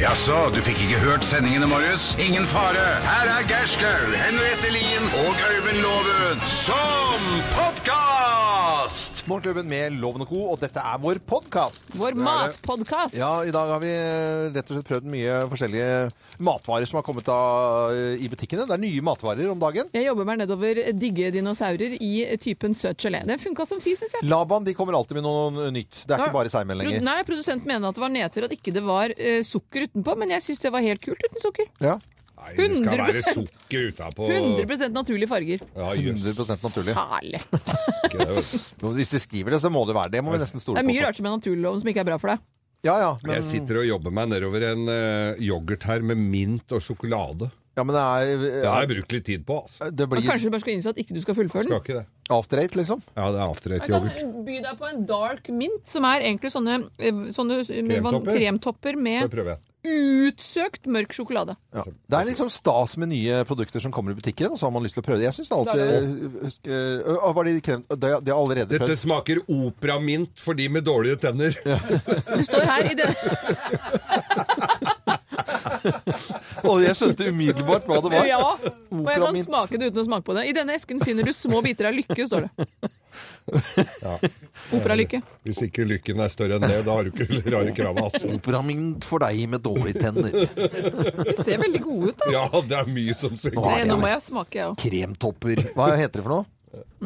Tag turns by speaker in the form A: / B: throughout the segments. A: Jaså, du fikk ikke hørt sendingene, Marius? Ingen fare. Her er Gerskaug, Henriette Lien og Øyvind Loven som podkast!
B: Morgenklubben med Loven og Co., og dette er vår podkast.
C: Vår matpodkast.
B: Ja, I dag har vi eh, rett og slett prøvd mye forskjellige matvarer som har kommet av, i butikkene. Det er nye matvarer om dagen.
C: Jeg jobber meg nedover digge dinosaurer i typen søt gelé. Det funka som fy, syns jeg.
B: Laban de kommer alltid med noe nytt. Det er ikke bare seigmenn
C: Pro-
B: lenger.
C: Nei, produsenten mener at det var nedtur at ikke det var eh, sukker utenpå, men jeg syns det var helt kult uten sukker.
B: Ja,
D: Nei, det skal være
C: 100%.
D: sukker utapå.
C: 100 naturlige farger.
D: Ja, jøss,
B: 100 naturlig.
C: Herlig.
D: ikke det, vet du.
B: Hvis de skriver det, så må det være det. må vi nesten
C: Det
B: stole
C: er mye
B: på.
C: rart som er naturloven som ikke er bra for deg.
B: Ja, ja, men,
D: Jeg sitter og jobber meg nedover en eh, yoghurt her med mint og sjokolade.
B: ja, men det
D: Det har
B: er eh,
D: jeg brukt litt tid på, altså.
B: Det
C: Men
B: blir
C: kanskje du bare skal innse at ikke du skal fullføre
D: Skal
C: den.
D: ikke det.
B: after eight, liksom.
D: Ja, det er after
C: Jeg
D: eight-yoghurt.
C: kan by deg på en dark mint, som er egentlig sånne, eh, sånne eh, van-
D: Kremtopper?
C: kremtopper
D: Det
C: med
D: prøver jeg.
C: utsøkt mørk sjokolade.
B: Ja. Det er liksom stas med nye produkter som kommer i butikken, og så har man lyst til å prøve det. Jeg syns alltid øh, øh, Var de krem... Det har jeg allerede
D: Dette
B: prøvd.
D: smaker operamint for de med dårlige tenner.
C: Det står her i det.
B: Og jeg skjønte umiddelbart hva det var.
C: Ja, og jeg kan
B: Operamint.
C: smake det uten å smake på det. I denne esken finner du små biter av lykke, står det. Operalykke.
D: Hvis ikke lykken er større enn det, da har du ikke rare krava, altså.
B: Operamint for deg med dårlige tenner.
C: De ser veldig gode ut, da. Eh,
D: Ja, det er mye som ser
B: Nå er det-
C: Nå må jeg smake, jeg òg.
B: Kremtopper. Hva heter det for noe?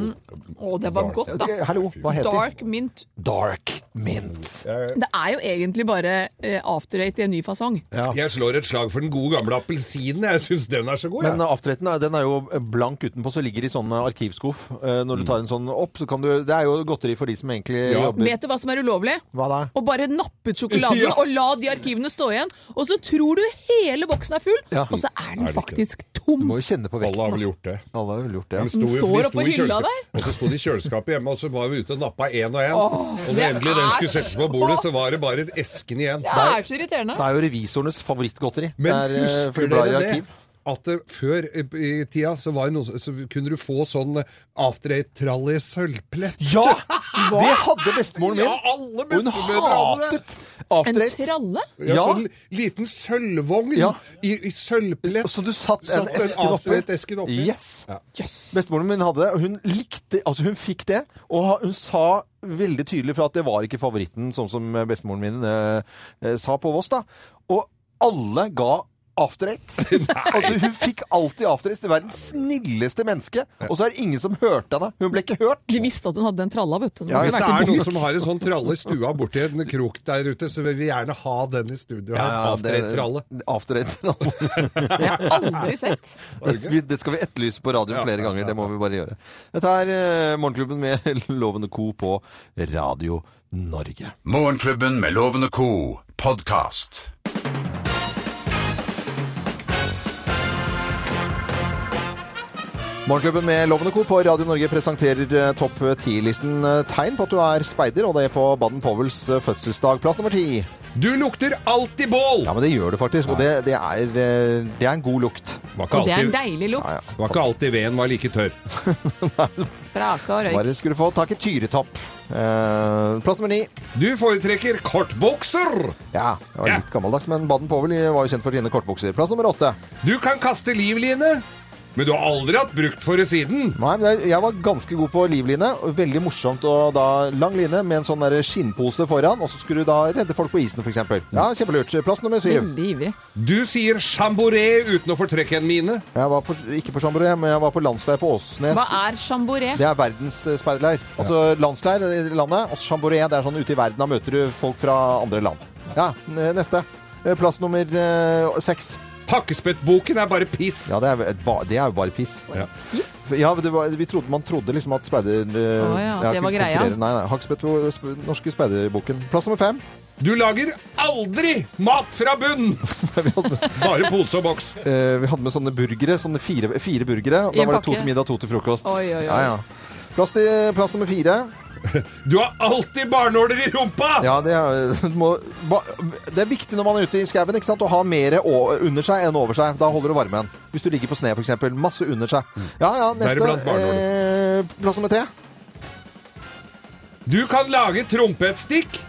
C: Å, det var godt, da.
B: Hallo, hva heter det?
C: Dark mint.
B: Dark mint.
C: Det er jo egentlig bare eh, after eight i en ny fasong.
D: Jeg slår et slag for den gode gamle appelsinen. Jeg syns den er så god.
B: Men
D: jeg.
B: afterretten er- den er jo blank utenpå, så ligger det i sånn arkivskuff. Eh, Når du tar en sånn opp, så kan du Det er jo godteri for de som egentlig
D: Ja.
B: jobber
C: Vet du hva som er ulovlig?
B: Hva da?
C: Å bare nappe ut sjokoladen
D: Ja.
C: og la de arkivene stå igjen. Og så tror du hele boksen er full,
B: Ja.
C: og så er
D: Er
C: den
D: det ikke
C: faktisk
B: Du
C: tom.
B: må jo kjenne på
D: Alle har
B: vekten.
D: vel gjort det.
B: da. Alle har vel gjort det.
D: De
B: ja.
D: sto,
C: Den
D: jo-
C: står oppå
D: de sto i
C: hylla
D: kjøleskap- Og så sto de i kjøleskapet hjemme, og så var vi ute og nappa én og én. og når
C: det
D: endelig den
C: er-
D: skulle settes på bordet, så var det bare esken igjen.
C: Det er så irriterende.
B: Det er jo revisorenes favorittgodteri.
D: Men
B: det er, eh, for
D: husker
B: de blar i
D: dere det?
B: arkiv.
D: At det, før i i tida så, var det noe, som- så kunne du få sånn after eight-trall i sølvplett.
B: Ja! Det hadde bestemoren min.
D: Ja, alle
B: Og hun
D: bestemødre hadde det.
B: hatet after
C: En
B: eight.
C: tralle?
D: Ja,
B: Ja.
D: sånn liten sølvvogn
B: Ja.
D: i, i sølvplett.
B: Så du satt en
D: Satt en
B: esken
D: after
B: oppi?
D: eight-esken oppi.
B: Yes.
D: Ja.
C: Jøss.
B: Bestemoren min hadde det, og hun likte Altså, hun fikk det, og ha- hun sa veldig tydelig fra at det var ikke favoritten, sånn som bestemoren min eh, eh, sa på Voss, da. Og alle ga after eight. altså, hun fikk alltid after eight. Det var den snilleste menneske, og så er det ingen som hørte henne. Hun ble ikke hørt.
C: De visste at hun hadde den tralla, vet du. Den
B: Ja,
C: hadde
D: Hvis det
C: vært
D: er
C: i
D: noen som har en sånn tralle i stua borti en krok der ute, så vil vi gjerne ha den i studio. her, after eight-tralle.
B: After eight-tralle.
C: bok. Jeg har aldri sett.
B: Det, det skal vi etterlyse på radioen
D: Ja,
B: flere
D: ja,
B: ganger.
D: ja,
B: Det må vi bare gjøre. Dette er eh, Morgenklubben med Lovende Co på Radio Norge.
A: Morgenklubben med Loven og Co. podkast.
B: Morgenklubben med Lovende Co på Radio Norge presenterer eh, topp ti-listen eh, tegn på at du er speider, og det er på Baden-Powells eh, fødselsdag. Plass nummer ti.
D: Du lukter alltid bål!
B: Ja, men det gjør du faktisk, og det, det, er, eh, det er en god lukt.
D: Var ikke
C: Og det er en
D: alltid,
C: deilig lukt.
D: var ikke alltid veden var like tørr.
C: Spraka og røyk.
B: Bare skulle få tak i tyretopp. Eh, plass nummer ni.
D: Du foretrekker kortbukser!
B: Ja, det var
D: Ja.
B: litt gammeldags, men Baden-Powell var jo kjent for sine kortbukser. Plass nummer åtte.
D: Du kan kaste livline, men du har aldri hatt brukt for det siden.
B: Nei, men jeg- jeg var ganske god på livline. og Veldig morsomt og da lang line med en sånn der skinnpose foran, og så skulle du da redde folk på isen, f.eks. Ja, kjempelurt. Plass nummer syv.
C: Veldig ivrig.
D: Du sier jamboree uten å fortrekke en mine.
B: Jeg var på, ikke på Chamboré, men jeg var på landsleir på Åsnes.
C: Hva er jamboree?
B: Det er verdens eh, speiderleir. Altså landsleir i landet, og Chamboré det er sånn ute i verden. Da møter du folk fra andre land. Ja, n- neste. Eh, Plass nummer eh, seks.
D: Pakkespettboken er bare piss.
B: Ja, det er, et ba- det er jo bare piss.
D: Ja.
C: Yes.
B: Ja, det var, vi trodde, man trodde liksom at speider... eh,
C: Å ja, det var
B: konkurrerer.
C: greia.
B: Nei, nei. Haksbett, sp norske speiderboken. Plass nummer fem.
D: Du lager aldri mat fra bunn! Bare pose og boks.
B: Eh, vi hadde med sånne burgere, sånne fire, fire burgere. og
C: I
B: Da
C: en
B: var det to
C: pakke?
B: til middag, to til frokost.
C: Oi, oi, oi.
B: Ja, ja. Plass, til, plass nummer fire.
D: Du har alltid barnåler i rumpa!
B: Ja, det, er- du må, ba, det er viktig når man er ute i skauen ikke sant, å ha mer å- under seg enn over seg. Da holder du varmen. Hvis du ligger på sne, f.eks. Masse under seg. Ja, ja, neste.
D: Deriblant
B: Eh, plass nummer tre.
D: Du kan lage trompetstikk,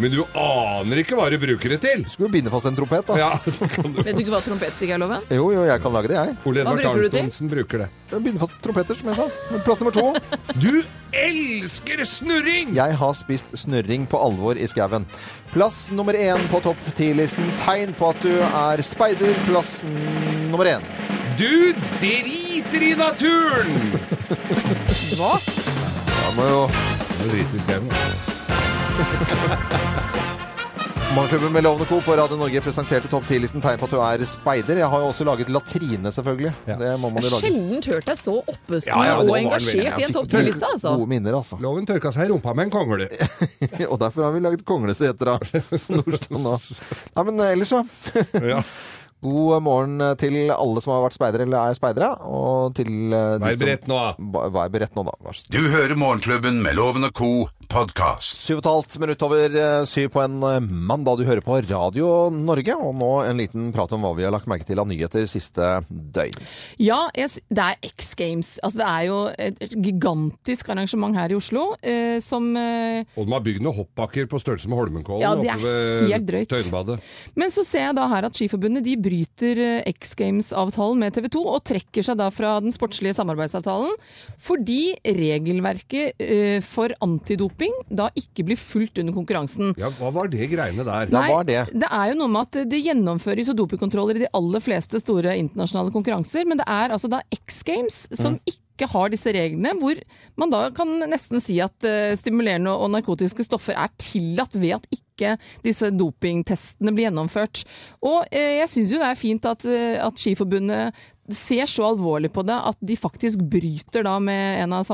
D: Men du aner ikke hva du bruker det til!
B: Skulle jo binde fast en trompet, da.
D: Ja, så kan du
C: Vet du ikke hva trompetstikk er, Loven?
B: Jo, jo, jeg kan lage det, jeg.
D: Ole
C: Hva
D: Edvard
C: bruker du til?
D: Antonsen bruker det.
B: Jeg Binde fast trompeter, som jeg sa. Men Plass nummer to.
D: Du elsker snurring!
B: Jeg har spist snørring på alvor i skauen. Plass nummer én på topp ti-listen. Tegn på at du er speider. Plass n- nummer én.
D: Du driter i naturen!
C: Hva?
B: Da må jo
D: Du driter i skauen.
B: Morgenklubben med Lovende Co. på Radio Norge presenterte topp ti-listen tegn på at du er speider. Jeg har jo også laget latrine, selvfølgelig. Det må man
C: Jeg
B: jo
C: har
B: lage.
C: sjelden hørt deg så oppesen
B: Ja, ja, men det
C: og
B: var den veldig.
C: engasjert i
B: Jeg
C: en
B: fikk
C: topp 10-liste, altså.
B: Gode minner, altså.
D: Loven tørka seg i rumpa med en kongle.
B: Og derfor har vi laget konglesetra. Nei, men ellers, ja.
D: Ja.
B: God morgen til alle som har vært speidere eller er speidere. Og til eh, de
D: Vær
B: som-
D: beredt nå, da.
B: Ba- Vær beredt nå, da. Vær så snill.
A: Du hører Morgenklubben med Loven og Co. podkast.
B: Syv og et halvt minutt over eh, syv på en eh, mandag. Du hører på Radio Norge, og nå en liten prat om hva vi har lagt merke til av nyheter siste døgn.
C: Ja, jeg, s- det er X Games. Altså, det er jo et et gigantisk arrangement her i Oslo eh, som eh,
D: Og de har bygd noen hoppbakker på størrelse med Holmenkollen
C: Ja, det er
D: oppe ved
C: helt drøyt.
D: Tøyenbadet.
C: Men så ser jeg da her at Skiforbundet de bryter eh, X Games-avtalen med TV 2 og trekker seg da fra den sportslige samarbeidsavtalen fordi regelverket eh, for antidoping da ikke blir fulgt under konkurransen.
D: Ja, hva var det greiene der?
B: Hva var det?
C: er jo noe med at det gjennomføres jo dopingkontroller i de aller fleste store internasjonale konkurranser, men det er altså da X Games som
B: Mm.
C: ikke har disse reglene, hvor man da kan nesten si at eh, stimulerende og narkotiske stoffer er tillatt ved at ikke disse dopingtestene blir gjennomført. Og eh, jeg syns jo det er fint at, eh, at Skiforbundet ser så alvorlig på det at de faktisk bryter da med en av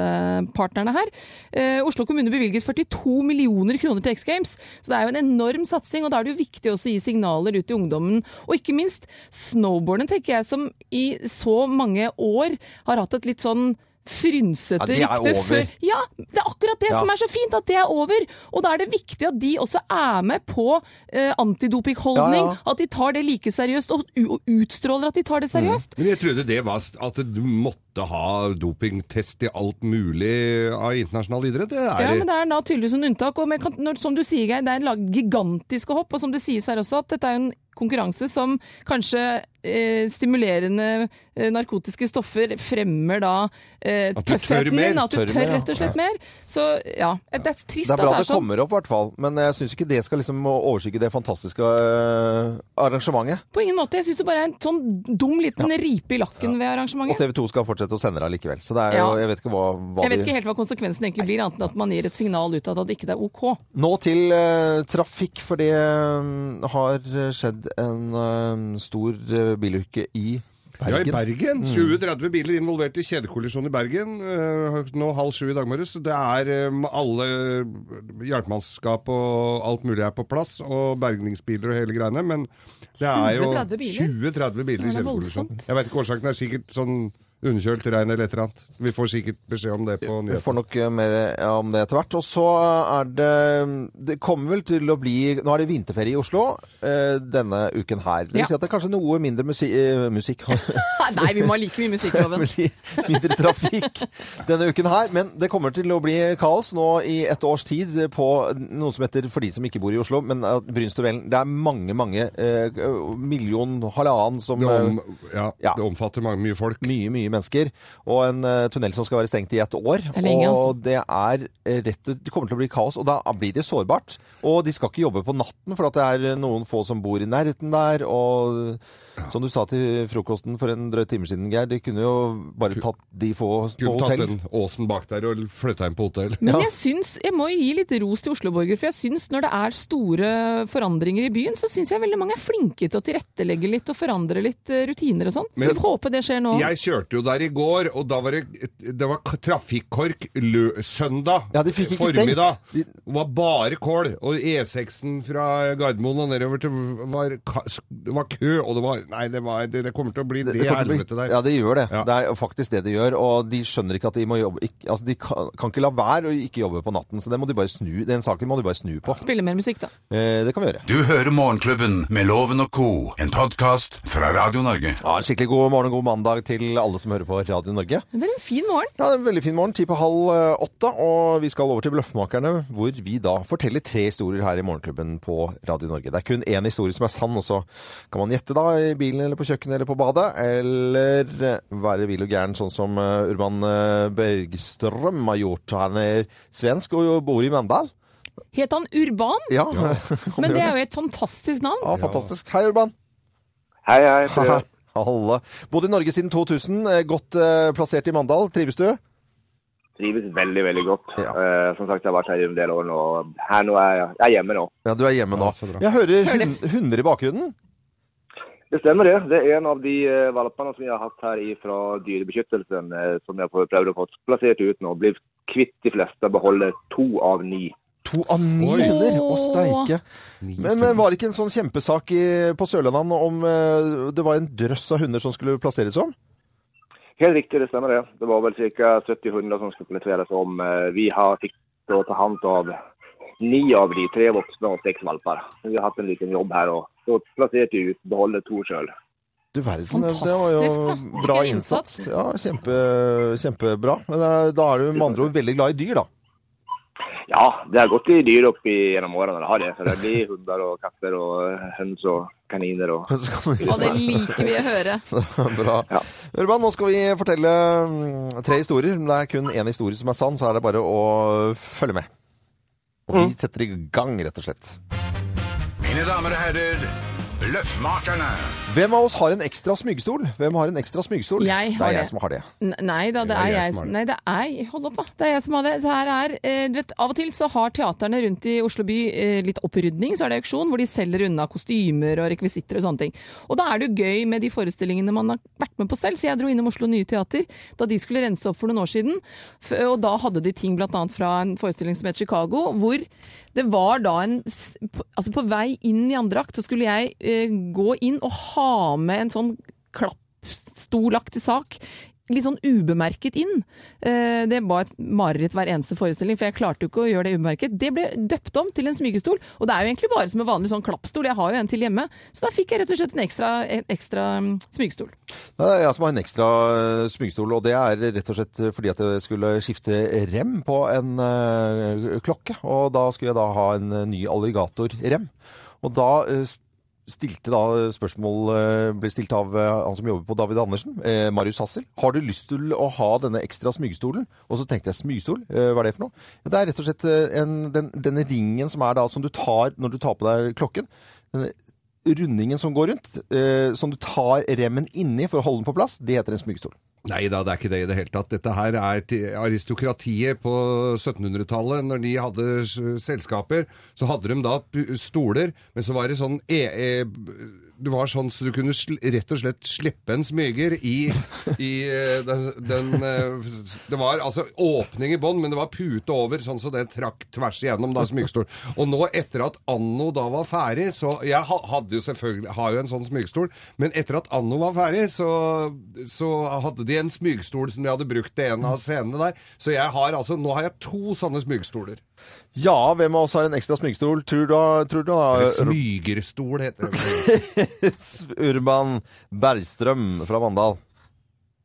C: samarbeidspartnerne her. Eh, Oslo kommune bevilget 42 millioner kroner til X Games, så det er jo en enorm satsing. og Da er det jo viktig også å gi signaler ut til ungdommen. Og ikke minst snowboarden, tenker jeg, som i så mange år har hatt et litt sånn frynsete
B: Ja, det er
C: rykte
B: over.
C: før- ja, det er akkurat det
B: Ja.
C: som er så fint, at det er over. Og da er det viktig at de også er med på eh, antidopingholdning.
B: Ja,
C: At de tar det like seriøst, og, u- og utstråler at de tar det
B: Mm.
C: seriøst.
D: Men jeg trodde det var st- at du måtte ha dopingtest i alt mulig av internasjonal idrett. Det er
C: Ja, men Det er da tydeligvis en unntak. og men kan, når, som du sier, Geir, Det er laget gigantiske hopp. og som det sies her også, at Dette er jo en konkurranse som kanskje eh, stimulerende eh, narkotiske stoffer fremmer da eh,
D: At du tør
C: tøffheten
D: mer,
C: din. At du
B: tør
C: tør,
B: mer, ja.
C: rett og slett mer. Så ja, det er trist
B: Det er bra
C: at
B: det
C: det er sånn.
B: kommer opp, i hvert fall. Men jeg syns ikke det skal liksom overskygge det fantastiske øh, arrangementet.
C: På ingen måte. Jeg syns det bare er en sånn dum liten ripe i lakken ved
B: Og
C: arrangementet.
B: TV 2 skal fortsette å sende det likevel. Så det er jo,
C: Ja.
B: jeg vet ikke hva, hva
C: Jeg vet
B: de
C: ikke helt hva konsekvensen egentlig blir, annet enn at man gir et signal utad at ikke det er OK.
B: Nå til eh, trafikk, for det eh, har skjedd en eh, stor eh, bilulykke i Bergen. Mm.
D: Ja, i Bergen. 20-30 biler involvert i kjedekollisjon i Bergen. eh, Nå halv sju i dag morges. Det er eh, alle eh, hjelpemannskap og alt mulig er på plass, og bergningsbiler og hele greiene, men det er jo
C: 20-30 biler? Ja,
D: 20-30 biler i
C: det er
D: kjedekollisjon.
C: voldsomt.
D: Jeg veit ikke årsaken, det er sikkert sånn underkjølt regn eller et eller annet. Vi får sikkert beskjed om det på
B: Vi får
D: nyhetene.
B: nok eh, mer om det etter hvert. Og så er det mm, Det kommer vel til å bli Nå er det vinterferie i Oslo eh, denne uken her. Det vil
C: Ja.
B: si at det er kanskje noe mindre musi eh, musikk
C: Nei, vi må ha like mye musikkloven.
B: Mindre trafikk denne uken her. Men det kommer til å bli kaos nå i et års tid på noe som heter, for de som ikke bor i Oslo, men eh, Brynstuvellen. Det er mange, mange eh, million, halvannen som
D: Det,
B: eh,
D: om, ja,
B: Ja.
D: det omfatter mange, mye folk.
B: mye, mye mennesker, og en eh, tunnel som skal være stengt i et år.
C: er lenge, altså.
B: Og det er eh, rett og Det kommer til å bli kaos, og da blir det sårbart. Og de skal ikke jobbe på natten, for at det er eh, noen få som bor i nærheten der. Og som du sa til frokosten for en drøy time siden, Geir, de kunne jo bare tatt de få på
D: Skulle tatt
B: hotell.
D: den åsen bak der og flytta inn på hotell.
C: Men
B: Ja.
C: jeg syns, jeg må gi litt ros til Oslo-borger, for jeg syns når det er store forandringer i byen, så syns jeg veldig mange er flinke til å tilrettelegge litt og forandre litt eh, rutiner og sånn.
D: Men-
C: Så vi får håpe det skjer nå.
D: Jeg kjørte jo der i går, og da var det, det var k- trafikkork lø søndag
B: Ja, de fikk ikke stengt.
D: formiddag.
B: De-
D: Det var bare kål. Og E6-en fra Gardermoen og nedover til var, ka- det var kø, og det var Nei, det, var, det, det kommer til å bli det,
B: kommer til å bli-
D: helvete der.
B: Ja, det gjør det.
D: Ja.
B: Det er faktisk det de gjør. Og de skjønner ikke at de må jobbe ikke, Altså, de kan, kan ikke la være å ikke jobbe på natten. Så det må de bare snu, den saken må de bare snu på.
C: Spille mer musikk, da.
B: Eh, det kan vi gjøre.
A: Du hører Morgenklubben med Loven og Co., en podkast fra Radio Norge.
B: Ja, en skikkelig god morgen og god mandag til alle som som hører på Radio Norge.
C: Det er en fin morgen.
B: Ja, det er en veldig fin morgen. Ti på halv eh, åtte, og vi skal over til Bløffmakerne, hvor vi da forteller tre historier her i Morgenklubben på Radio Norge. Det er kun én historie som er sann, og så kan man gjette da i bilen eller på kjøkkenet eller på badet, eller eh, være vill og gæren, sånn som eh, Urban eh, Bergstrøm har gjort. Han er svensk og bor i Mandal.
C: Het han Urban?
B: Ja, ja.
C: Men det er jo et fantastisk navn.
B: fantastisk. Hei, Urban. Eh,
E: Hei, hei. Frø.
B: Alle. Bodd i Norge siden 2000, eh, godt eh, plassert i Mandal. Trives du?
E: Trives veldig, veldig godt.
B: Ja.
E: Eh, som sagt, jeg har vært her i en del år nå. Her nå er jeg, jeg er hjemme nå.
B: Ja, du er hjemme nå.
D: Ja, så bra.
B: Jeg hører
C: Hører.
B: hun- hunder i bakgrunnen.
E: Det stemmer det. Det er en av de eh, valpene som jeg har hatt her fra dyrebeskyttelsen, eh, som jeg har prøvd å få plassert ut nå. Blir kvitt de fleste, beholder to av ni.
B: To av ni
D: Oi.
B: hunder! Å,
C: Åh.
B: steike. Men, men var det ikke en sånn kjempesak i, på Sørlandet om eh, det var en drøss av hunder som skulle plasseres om?
E: Helt riktig, det stemmer det. Det var vel ca. 70 hunder som skulle plasseres om. Eh, Vi har fikk å ta hand av ni av de, tre voksne og seks valper. Vi har hatt en liten jobb her og så plasserte vi ut, beholder to sjøl.
B: Du verden, det- det var
C: Fantastisk,
B: jo
C: da.
B: bra
C: Hvilken
B: innsats.
C: innsats.
B: Ja, kjempe, kjempebra. Men eh, da er du med andre ord veldig glad i dyr, da.
E: Ja, det har gått i dyr opp i gjennom årene. Det har det. Så det blir hunder og katter og eh, høns og kaniner og
B: Så kan du-
C: Og det liker vi å høre.
B: Bra.
E: Ja.
B: Urban, nå skal vi fortelle mm, tre historier. Men det er kun én historie som er sann, så er det bare å følge med. Og
C: Mm.
B: vi setter i gang, rett og slett.
A: Mine damer og herrer, Løffmakerne.
B: Hvem av oss har en ekstra smygestol? Hvem har en ekstra smygestol?
C: Jeg
B: det
C: har
B: er jeg
C: det.
B: som har det.
C: N- Nei da, det
D: er
C: er
D: jeg
C: jeg
D: som har det.
C: Nei, det er Hold opp, da. Det er jeg som har det. Det her er eh, Du vet, av og til så har teaterne rundt i Oslo by eh, litt opprydning, så er det auksjon hvor de selger unna kostymer og rekvisitter og sånne ting. Og da er det jo gøy med de forestillingene man har vært med på selv, så jeg dro innom Oslo Nye Teater da de skulle rense opp for noen år siden. F og da hadde de ting blant annet fra en forestilling som het Chicago, hvor det var da en s- på- Altså på vei inn i andre akt så skulle jeg eh, gå inn og ha med en sånn klappstolaktig sak litt sånn ubemerket inn. Eh, Det var et mareritt hver eneste forestilling, for jeg klarte jo ikke å gjøre det ubemerket. Det ble døpt om til en smygestol, og det er jo egentlig bare som en vanlig sånn klappstol. Jeg har jo en til hjemme, så da fikk jeg rett og slett en ekstra, en ekstra mm, smygestol.
B: Det er jeg som har en ekstra eh, smygestol, og det er rett og slett fordi at jeg skulle skifte rem på en eh, klokke. Og da skulle jeg da ha en eh, ny alligatorrem. Og da eh, s- stilte da spørsmål eh, ble stilt av eh, han som jobber på David Andersen, eh, Marius Hassel. Har du lyst til å ha denne ekstra smygestolen? Og så tenkte jeg smygestol, eh, hva er det for noe? Det er rett og slett eh, en, den, denne ringen som er da som du tar når du tar på deg klokken. Denne rundingen som går rundt, eh, som du tar remmen inni for å holde den på plass, det heter en smygestol.
D: Nei da, det er ikke det i det hele tatt. Dette her er til aristokratiet på 1700-tallet. Når de hadde s- selskaper, så hadde de da pu- stoler, men så var det sånn e e det var sånn så du kunne sl rett og slett slippe en smyger i, i eh, den, den eh, s- Det var altså åpning i bånn, men det var pute over, sånn så det trakk tvers igjennom da smygestol. Og nå etter at Anno da var ferdig, så Jeg ha- hadde jo selvfølgelig har jo en sånn smygestol, men etter at Anno var ferdig, så, så hadde de en smygestol som de hadde brukt til en av scenene der. Så jeg har altså Nå har jeg to sånne smygestoler.
B: Ja, hvem av oss har en ekstra smygestol? Tror du, tror du da Ur-
D: Smygerstol heter det.
B: Urban Bergstrøm fra Mandal?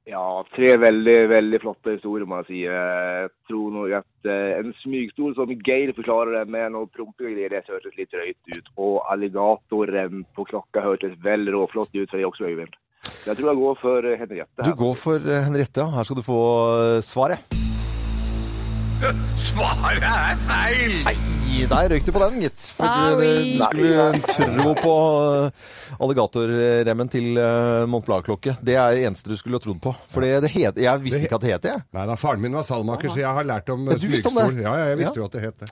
E: Ja, tre veldig, veldig flotte historier, må jeg si. Jeg tror nok at eh, en smygstol som Geir forklarer det med noe promping og greier, det hørtes litt drøyt ut. Og alligatoren på klokka hørtes vel råflott ut, for det er også Øyvind. Så Jeg tror jeg går for eh, Henriette.
B: Du
E: her.
B: går for eh, Henriette, ja. Her skal du få eh, svaret.
A: Svaret er feil!
B: Nei, der røyk du på den, gitt. For eh,
C: Sorry.
B: du, du skulle tro på eh, alligatorremmen til eh, Montblanc-klokke. Det er det eneste du skulle ha trodd på. For det, det het, jeg visste ikke at det het det.
D: Nei da, faren min var salmaker, så jeg har lært om
B: Ja, du visste om
D: smygestol.
B: det?
D: Ja, ja, jeg
B: Ja.
D: visste jo at det het det.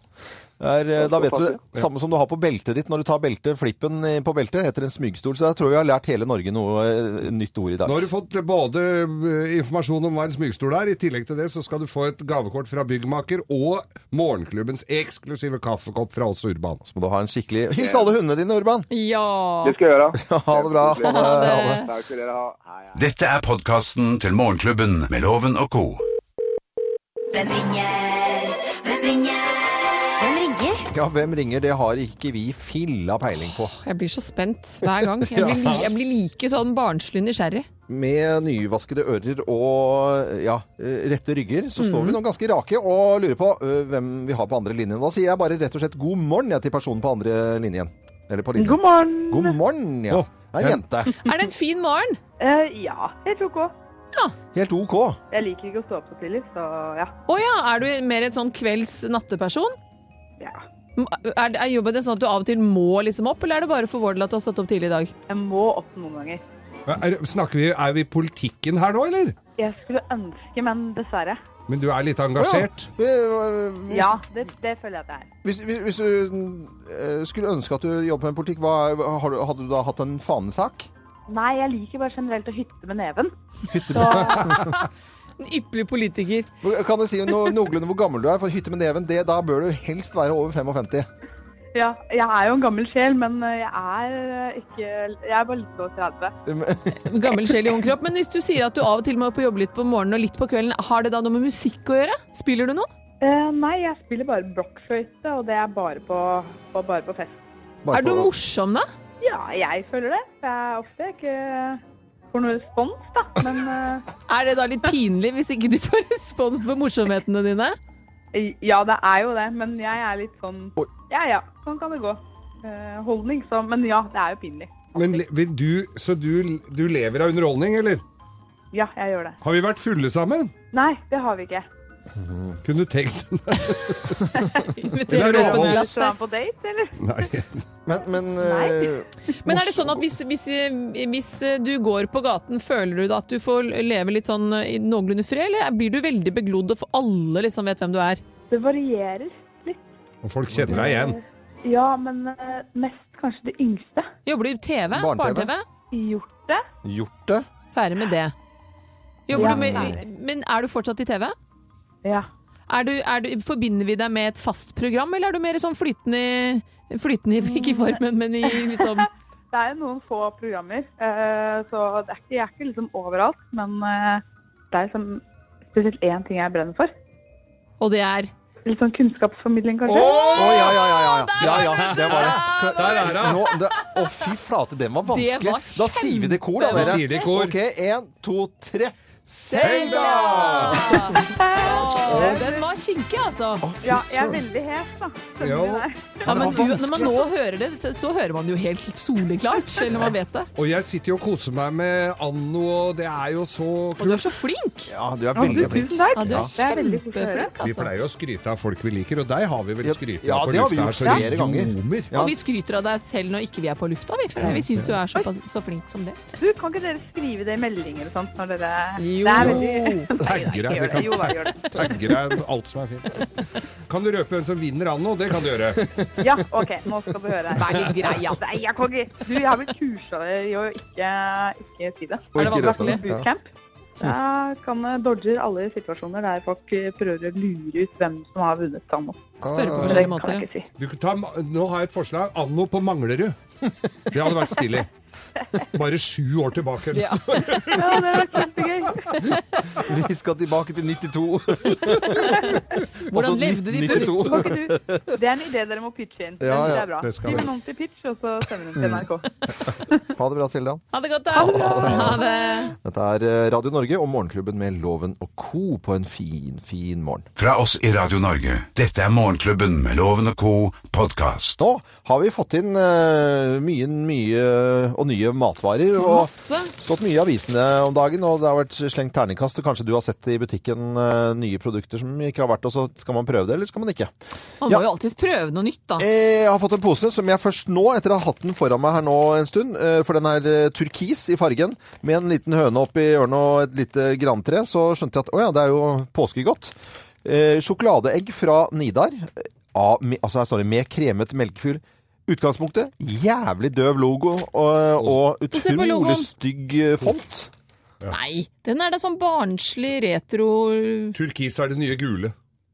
B: Er, eh, da vet du det. Samme som du har på beltet ditt. Når du tar beltet, flippen eh, på beltet heter en smygestol. Så jeg tror vi har lært hele Norge noe eh, nytt ord i dag.
D: Nå har du fått både eh, informasjon om hva en smygestol er. I tillegg til det så skal du få et gavekort fra byggmaker og morgenklubbens eksklusive kaffekopp fra oss Urban.
B: Så må du ha en skikkelig Hils alle hundene dine, Urban!
C: Ja.
E: Det skal jeg gjøre.
B: Ha det bra. Ha det. Ha det.
E: Takk skal dere ha. Hei, hei.
A: Dette er podkasten til Morgenklubben med Loven og co.
F: Hvem ringer? Hvem ringer? Hvem ringer?
B: Ja, hvem ringer? Det har ikke vi filla peiling på.
C: Jeg blir så spent hver gang. Jeg blir, li- jeg blir like sånn barnslig nysgjerrig.
B: med nyvaskede ører og ja, eh, rette rygger, så står
G: Mhm.
B: vi nå ganske rake og lurer på øh, hvem vi har på andre linjen. Da sier jeg bare rett og slett god morgen jeg, til personen på andre linjen. Eller på linjen.
G: God morgen.
B: God morgen, ja.
D: Å,
B: Det er en jente.
C: Er det en fin morgen?
G: Eh, ja, helt OK.
B: Helt OK.
G: Jeg liker ikke å stå opp så tidlig, så ja.
C: Å ja, er du mer en sånn kvelds-natteperson?
G: ja.
C: Er, er jobben din sånn at du av og til må liksom opp, eller er det bare for vår del at du har stått opp tidlig i dag?
G: Jeg må opp noen ganger.
D: Er, snakker vi, er vi i politikken her nå, eller?
G: Jeg skulle ønske, men dessverre.
D: Men du er litt engasjert?
B: Å ja. Øh, Hvis,
G: Ja, det, det føler jeg at jeg er.
B: hvis, hvis, hvis du øh, skulle ønske at du jobbet med politikk, hva, har du- hadde du da hatt en fanesak?
G: Nei, jeg liker bare generelt å hytte med neven.
B: Hytte
G: Så
C: En ypperlig politiker.
B: Kan du si no, noenlunde hvor gammel du er? For hytte med neven, det, da bør du helst være over 55.
G: ja, jeg er jo en gammel sjel, men jeg er eh, ikke Jeg er bare litt over 30.
C: Gammel sjel i ung kropp. Men hvis du sier at du av og til må opp og jobbe litt på morgenen og litt på kvelden, har det da noe med musikk å gjøre? Spiller du noe?
G: Eh, nei, jeg spiller bare blokkfløyte, og det er bare på, på, bare på fest.
B: Bare
C: Er du
B: på-
C: morsom, da?
G: Ja, jeg føler det. Jeg er ofte ikke får noe respons, da. Men eh,
C: Er det da litt pinlig hvis ikke du får respons på morsomhetene dine?
G: ja, det er jo det. Men jeg er litt sånn
B: Oi.
G: Ja ja, sånn kan det gå. Eh, holdning, så Men ja, det er jo pinlig.
D: Men le- vil du, så du, du lever av underholdning, eller?
G: Ja, jeg gjør det.
D: Har vi vært fulle sammen?
G: Nei, det har vi ikke.
D: Kunne du tenkt
C: Inviterer dere på et
G: Skal
C: glass
G: vi
C: der?
G: være på date, eller?
D: Nei.
B: Men, men
G: Nei.
B: øh,
C: Men er det sånn at hvis, hvis, hvis du går på gaten, føler du da at du får leve litt sånn i noenlunde fred, eller blir du veldig beglodd og for alle liksom vet hvem du er?
G: Det varierer litt.
D: Og folk kjenner deg igjen.
G: Ja, men eh, mest kanskje det yngste.
C: Jobber du i TV?
B: Barne-TV?
C: Barne-TV?
G: Gjort det.
B: Gjort det?
C: Ferdig med det. Jobber
G: Ja,
C: du med,
G: ferdig.
C: men er du fortsatt i TV?
G: Ja.
C: Er du, er du, forbinder vi deg med et fast program, eller er du mer sånn flytende, i- flytende i-
G: Mm.
C: ikke i formen, men i liksom
G: Det er jo noen få programmer, eh, så det er ikke, jeg er ikke liksom overalt. Men eh, det er liksom spesielt én ting jeg brenner for.
C: Og det er
G: Litt sånn kunnskapsformidling, kanskje.
B: Å, ja, ja, ja, ja. ja, ja det var det.
D: Der er hun!
B: Nå, det, å, fy flate, den var vanskelig.
C: Det var
B: da sier vi det i kor, da, dere.
D: Sier det i kor.
B: OK, én, to, tre.
D: Selda!
C: Å, Den var kinkig, altså.
G: Ja, jeg er veldig hes, da. Skjønner
D: Ja.
G: du det?
C: Ja, men
B: det var
C: når man nå hører det, så- så hører man det jo helt soleklart, selv når man vet det.
D: Og jeg sitter jo og koser meg med Anno, og det er jo så
C: Og du
D: kult.
C: er så flink!
B: Ja, du er
G: Å, du,
B: veldig flink.
G: Tusen
C: Ja,
G: takk.
C: du er
G: Det er veldig koselig å høre.
C: kjempeflink,
D: Vi
C: altså.
D: pleier jo å skryte av folk vi liker, og deg har vi vel
B: Ja,
D: skrytt
B: ja,
D: av på
B: det har vi
D: lufta
B: gjort
D: her, så
B: flere
D: det
B: ganger.
D: ljomer.
B: Ja.
C: Og vi skryter av deg selv når ikke vi er på lufta, vi. For vi syns du er såpass, så flink som det.
G: Du, kan ikke dere skrive det i meldinger og sånt når dere
C: Jo.
G: Det er veldig
D: Tagger deg. Vi
G: Gjør det.
D: kan
G: Jo, jeg gjør det.
D: tagge deg alt som er fint. Kan du røpe hvem som vinner Anno? Det kan du gjøre.
G: Ja, OK, nå skal du høre.
C: Vær litt grei, ja.
G: Nei, jeg kan ikke Du, jeg har blitt kursa i å ikke, ikke si det.
B: Og
C: Er det
B: ikke
C: vanskelig?
B: røpe det. Ja.
G: bootcamp. Jeg kan eh, dodger alle situasjoner der folk eh, prøver å lure ut hvem som har vunnet Tanno.
C: Spørre på
G: Det
C: forskjellige
G: kan jeg
C: måter.
G: ikke si.
D: Du kan ta, nå har jeg et forslag. Anno på Manglerud. Det hadde vært stilig. Bare sju år tilbake.
C: Ja.
G: Ja, det var kjempegøy.
B: Vi skal tilbake til Altså 92.
C: Hvordan levde de på
B: 92?
G: Kan ikke du- Det er en idé dere må pitche inn.
B: Ja,
G: Den
B: ja,
G: er bra.
D: det skal
G: Skriv
D: vi.
G: en ordentlig pitch, og så sender den til NRK.
B: Ha det bra, Silda.
C: Ha det godt, da. Ha det.
B: Dette er eh, Radio Norge og Morgenklubben med Loven og co. på en fin, fin morgen.
A: Fra oss i Radio Norge, dette er Morgenklubben med Loven og Co. podkast.
B: Nå har vi fått inn eh, mye, mye og nye matvarer. Og
C: Masse.
B: Stått mye i avisene om dagen, og det har vært slengt terningkast. Og kanskje du har sett i butikken eh, nye produkter som ikke har vært, og så skal man prøve det, eller skal man ikke?
C: Man
B: Ja.
C: må jo alltids prøve noe nytt, da.
B: Eh, Jeg har fått en pose som jeg først nå, etter å ha hatt den foran meg her nå en stund, eh, for den er eh, turkis i fargen, med en liten høne oppi ørene og et lite grantre, så skjønte jeg at å ja, det er jo påskegodt. Eh, Sjokoladeegg fra Nidar, eh, av, med, altså her står det med kremet melkefyll. Utgangspunktet, jævlig døv logo og, og
C: se på logoen.
B: utrolig stygg eh, font.
C: Nei, den er da sånn barnslig retro Er
D: Turkis er det nye gule.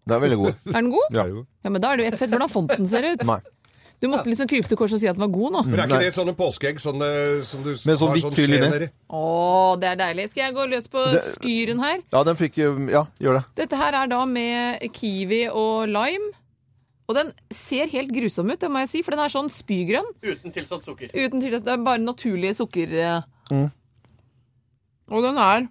B: Det er veldig god.
C: den god?
D: Det er jo-
C: Ja, men da er det jo ett fett hvordan fonten ser ut.
B: Nei. Mm.
C: Du måtte liksom krype til korset og si at den var god nå.
D: Men er ikke
B: Nei.
D: det sånne påskeegg sånne, som du
B: Med sånn
D: har
B: hvitt fyll inni.
D: skje nedi?
C: Å, det er deilig. Skal jeg gå løs på
B: Det-
C: skyren her?
B: Ja, den fikk eh, Ja, gjør det.
C: Dette her er da med kiwi og lime. Og den ser helt grusom ut, det må jeg si, for den er sånn spygrønn.
H: Uten tilsatt sukker.
B: Mm.
C: Uten tilsatt, Det eh. er bare naturlige sukker...
H: Og den er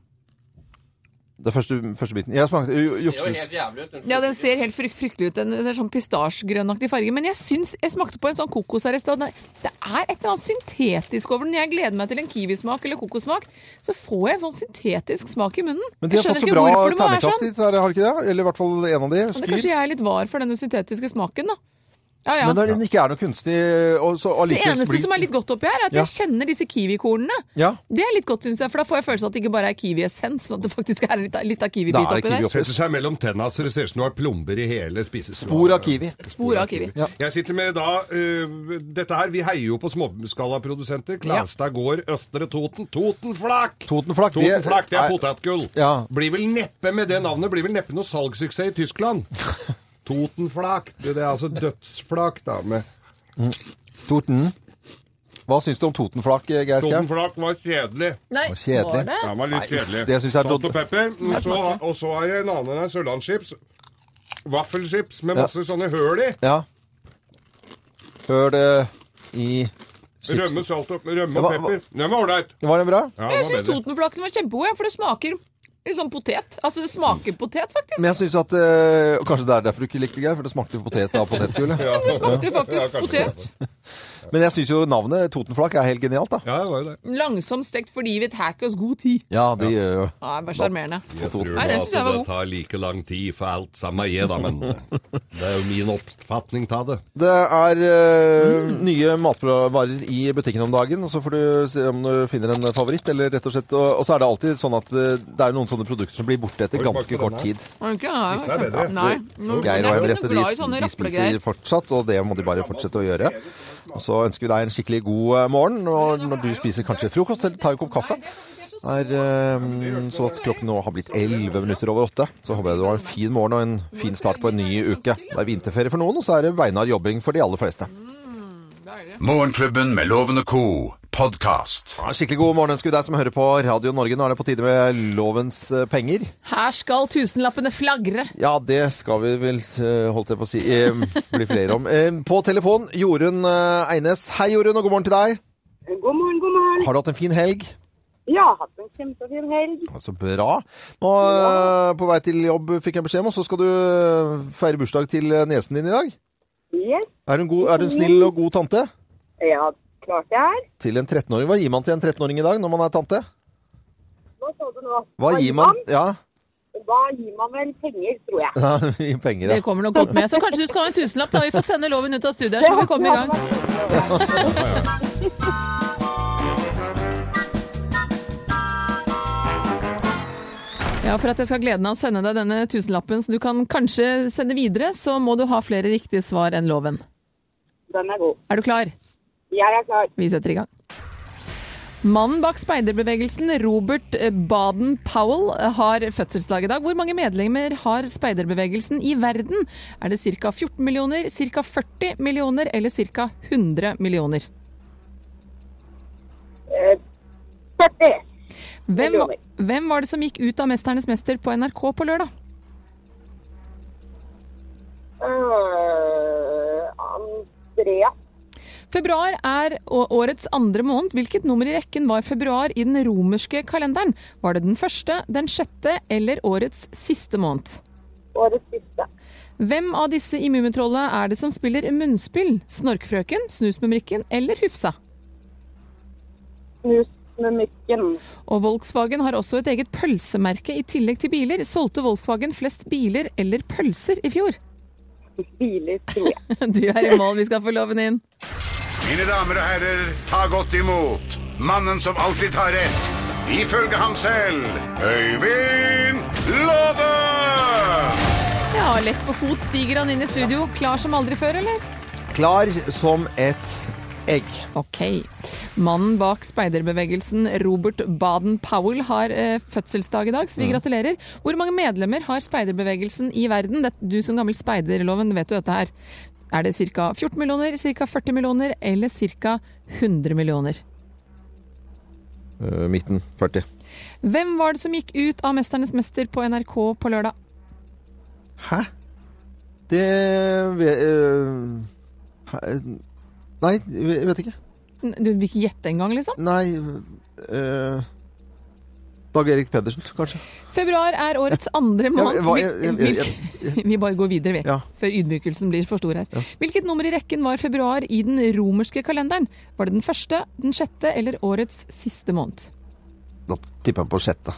B: Det første, første biten. Jeg eh, smakte jo-
I: Det ser jo
B: jukses.
I: helt jævlig ut.
C: Ja, den ser helt frykt, fryktelig ut. Den, den er sånn pistasjegrønnaktig farge. Men jeg syns jeg smakte på en sånn kokos her i stad. Den- Det er et eller annet syntetisk over den. Jeg gleder meg til en kiwismak eller kokosmak. Så får jeg en sånn syntetisk smak i munnen.
B: Men de har
C: Jeg
B: fått så
C: skjønner
B: bra
C: ikke hvorfor det må være
B: ternekast
C: sånn.
B: dit, har de ikke det? Eller i hvert fall en av de.
C: Men det,
B: Skyr.
C: kanskje jeg er litt var for denne syntetiske smaken, da. Ja, ja.
B: Men når den ikke er noe kunstig og så
C: det
B: allikevel
C: eneste
B: blir-
C: som er litt godt oppi her, er at
B: Ja.
C: jeg kjenner disse kiwikornene.
B: Ja,
C: Det er litt godt, syns jeg, for da får jeg følelsen av at det ikke bare er kiwiessens, men at det faktisk er litt, av- litt av
B: Da
C: kiwibit
B: er det
C: oppi
B: kiwi
C: der.
B: oppi.
D: Setter seg mellom tenna så det ser ut som du har plomber i hele spisestolen.
B: Spor av kiwi.
C: Spor av kiwi.
D: Jeg sitter med da øh, Dette her, vi heier jo på småskalaprodusenter. Klæstad gård, Østre Toten. Totenflak!
B: Totenflak, det-
D: Totenflak, det er
B: Nei.
D: potetgull.
B: Ja.
D: Blir vel neppe med det navnet blir vel neppe noe salgssuksess i Tyskland. Totenflak. Det det er altså dødsflak, da. Med
B: Torten. Hva syns du om totenflak, eh, Geir Skau?
D: Totenflak var kjedelig.
C: Nei,
B: Å, kjedelig.
C: var det?
D: Den var
B: Nei,
D: litt
B: uff,
D: kjedelig.
B: det synes jeg er
D: Salt og
B: tot-
D: pepper. Og så, og så er det en annen her, sørlandschips. Vaffelchips med masse sånne høl i.
B: Ja. Hør det i
D: Rømme,
B: chipsen.
D: salt og, rømme og
B: Ja, hva- hva-
D: pepper. Den var ålreit.
B: Var den bra?
C: Jeg
D: Ja, den var
C: syns
D: bedre.
C: Totenflaken var kjempegod, ja, for det smaker litt sånn potet. Altså, det smaker potet, faktisk.
B: Men jeg syns at øh, Kanskje det er derfor du ikke likte det, Geir, for det smakte potet av potetgullet.
C: Det smakte
D: Ja,
C: faktisk
D: kanskje
C: potet.
B: Men jeg syns jo navnet Totenflak er helt genialt, da.
D: Ja, det var jo det.
C: Langsomt stekt fordi vi tar ikke oss god tid.
B: Ja, de gjør jo
C: Nei, bare sjarmerende.
D: Jeg tror
C: Nei, den synes jeg var
D: det
C: god.
D: tar like lang tid for alt sammen jeg, da, men det er jo min oppfatning av det.
B: Det er øh,
C: Mm.
B: nye matvarer i butikken om dagen, og så får du se om du finner en favoritt, eller rett og slett Og, og så er det alltid sånn at øh, det er noen sånne produkter som blir borte etter
D: Oi,
B: ganske
D: smakte den
B: kort
D: her?
B: tid.
C: Var det ikke? Nei,
D: Disse er bedre.
C: Nei. Nå, jeg
B: Geir og
C: er ikke
B: Henriette
C: så
B: de,
C: glad i sånne
B: de spiser
C: raplegreier.
B: fortsatt, og det må de bare fortsette å gjøre. Og så ønsker vi deg en skikkelig god eh, morgen, og når du spiser kanskje frokost eller tar en kopp kaffe. Er eh, sånn at klokken nå har blitt 11 minutter over åtte. Så håper jeg du har en fin morgen og en fin start på en ny uke. Det er vinterferie for noen, og så er det beinhard jobbing for de aller fleste.
A: Morgenklubben med Loven og Co. Podcast.
B: Ja, skikkelig god morgen ønsker vi deg som hører på Radio Norge. Nå er det på tide med lovens eh, penger.
C: Her skal tusenlappene flagre.
B: Ja, det skal vi vel, eh, holdt jeg på å si, eh, bli flere om. Eh, På telefon, Jorunn eh, Eines. Hei, Jorunn, og god morgen til deg.
G: God morgen, god morgen.
B: Har du hatt en fin helg?
G: Ja, hatt en kjempefin helg.
B: Så bra. Nå eh, på vei til jobb fikk jeg beskjed om, og så skal du eh, feire bursdag til eh, niesen din i dag.
G: Yes.
B: Er hun, god, er hun snill og god tante?
G: Ja, klart jeg er.
B: Til en 13-åring. Hva gir man til en 13-åring i dag når man er tante?
G: Hva sa du nå?
B: Hva gir man? Ja,
G: Da gir man vel penger, tror jeg.
B: i penger.
C: Det
B: Ja.
C: kommer nok godt med. Så kanskje du skal ha en tusenlapp da vi får sende loven ut av studiet, så vi kommer i gang. Ja, For at jeg skal ha gleden av å sende deg denne tusenlappen som du kan kanskje sende videre, så må du ha flere riktige svar enn loven.
G: Den er god.
C: Er du klar?
G: Jeg er klar.
C: Vi setter i gang. Mannen bak speiderbevegelsen, Robert eh, Baden-Powell, eh, har fødselsdag i dag. Hvor mange medlemmer har speiderbevegelsen i verden? Er det ca. 14 millioner, ca. 40 millioner eller ca. 100 millioner?
G: Eh, 40.
C: Hvem,
G: Millioner.
C: hvem var det som gikk ut av 'Mesternes mester' på NRK på lørdag?
G: Eh, Andrea.
C: Februar er å- årets andre måned. Hvilket nummer i rekken var februar i den romerske kalenderen? Var det den første, den sjette eller årets siste måned?
G: Årets siste.
C: Hvem av disse i Mummitrollet er det som spiller munnspill? Snorkfrøken, Snusmumrikken eller Hufsa?
G: Snus med mykken.
C: Og Volkswagen har også et eget pølsemerke i tillegg til biler. Solgte Volkswagen flest biler eller pølser i fjor?
G: Biler, tror jeg.
C: Du er i mål, vi skal få loven inn.
A: Mine damer og herrer, ta godt imot mannen som alltid tar rett. Ifølge ham selv Øyvind Låve!
C: Ja, lett på fot stiger han inn i studio. Klar som aldri før, eller?
B: Klar som et egg.
C: Ok. Mannen bak speiderbevegelsen, Robert Baden-Powell, har eh, fødselsdag i dag, så vi gratulerer. Hvor mange medlemmer har speiderbevegelsen i verden? Det, du som gammel speiderloven vet jo dette her. Er det ca. 14 millioner, ca. 40 millioner eller ca. 100 millioner?
B: Eh, Midten, 40.
C: Hvem var det som gikk ut av 'Mesternes mester' på NRK på lørdag?
B: Hæ? Det ve- øh, hæ- Nei, jeg vet ikke.
C: N- Du vil ikke gjette engang, liksom?
B: Nei øh, eh, Dag Erik Pedersen, kanskje?
C: Februar er årets andre måned.
B: hva- jeg- jeg- jeg-
C: Hvil- hvil- Vi bare går videre, vi.
B: Ja.
C: Før ydmykelsen blir for stor her. Hvilket nummer i rekken var februar i den romerske kalenderen? Var det den første, den sjette eller årets siste måned?
B: Da tipper jeg på sjette.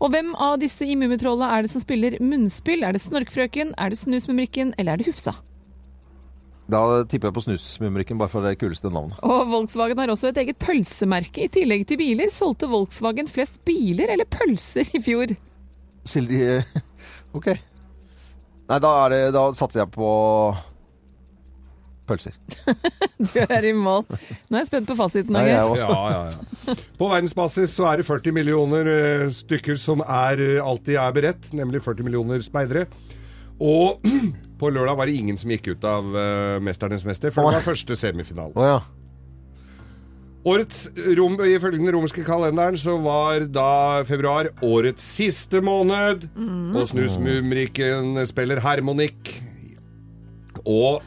C: Og hvem av disse i Mummitrollet er det som spiller munnspill? Er det Snorkfrøken, er det Snusmumrikken eller er det Hufsa?
B: Da tipper jeg på Snusmumrikken, bare for det kuleste navnet.
C: Og Volkswagen har også et eget pølsemerke. I tillegg til biler solgte Volkswagen flest biler eller pølser i fjor.
B: Silje OK. Nei, da, er det, da satser jeg på pølser.
C: Du er i mål. Nå er jeg spent på fasiten.
B: Nei, jeg
C: Agnes.
B: òg.
D: Ja, ja, ja. På verdensbasis så er det 40 millioner eh, stykker som er, eh, alltid er beredt, nemlig 40 millioner speidere. Og på lørdag var det ingen som gikk ut av eh, Mesternes mester, for det var første semifinale.
B: Å ja.
D: Årets rom, Ifølge den romerske kalenderen så var da februar årets siste måned. Og Snusmumrikken spiller harmonikk. Og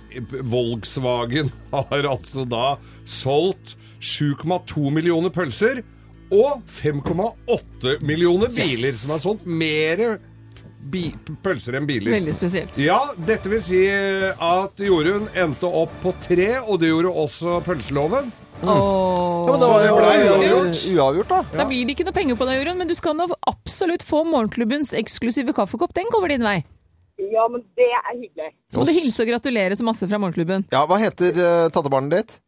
D: Volkswagen har altså da solgt 7,2 millioner pølser og 5,8 millioner biler, som har solgt mer bi pølser enn biler.
C: Veldig spesielt.
D: Ja, dette vil si at Jorunn endte opp på tre, og det gjorde også pølseloven.
C: Åh.
B: ja men det var jo
D: ble
B: uavgjort. uavgjort, da.
C: Da blir det ikke noe penger på deg, Jorunn, men du skal nå absolutt få morgenklubbens eksklusive kaffekopp. Den kommer din vei.
H: Ja, men det er hyggelig.
C: Så må du hilse og gratulere så masse fra morgenklubben.
B: Ja, Hva heter eh, tattebarnet ditt?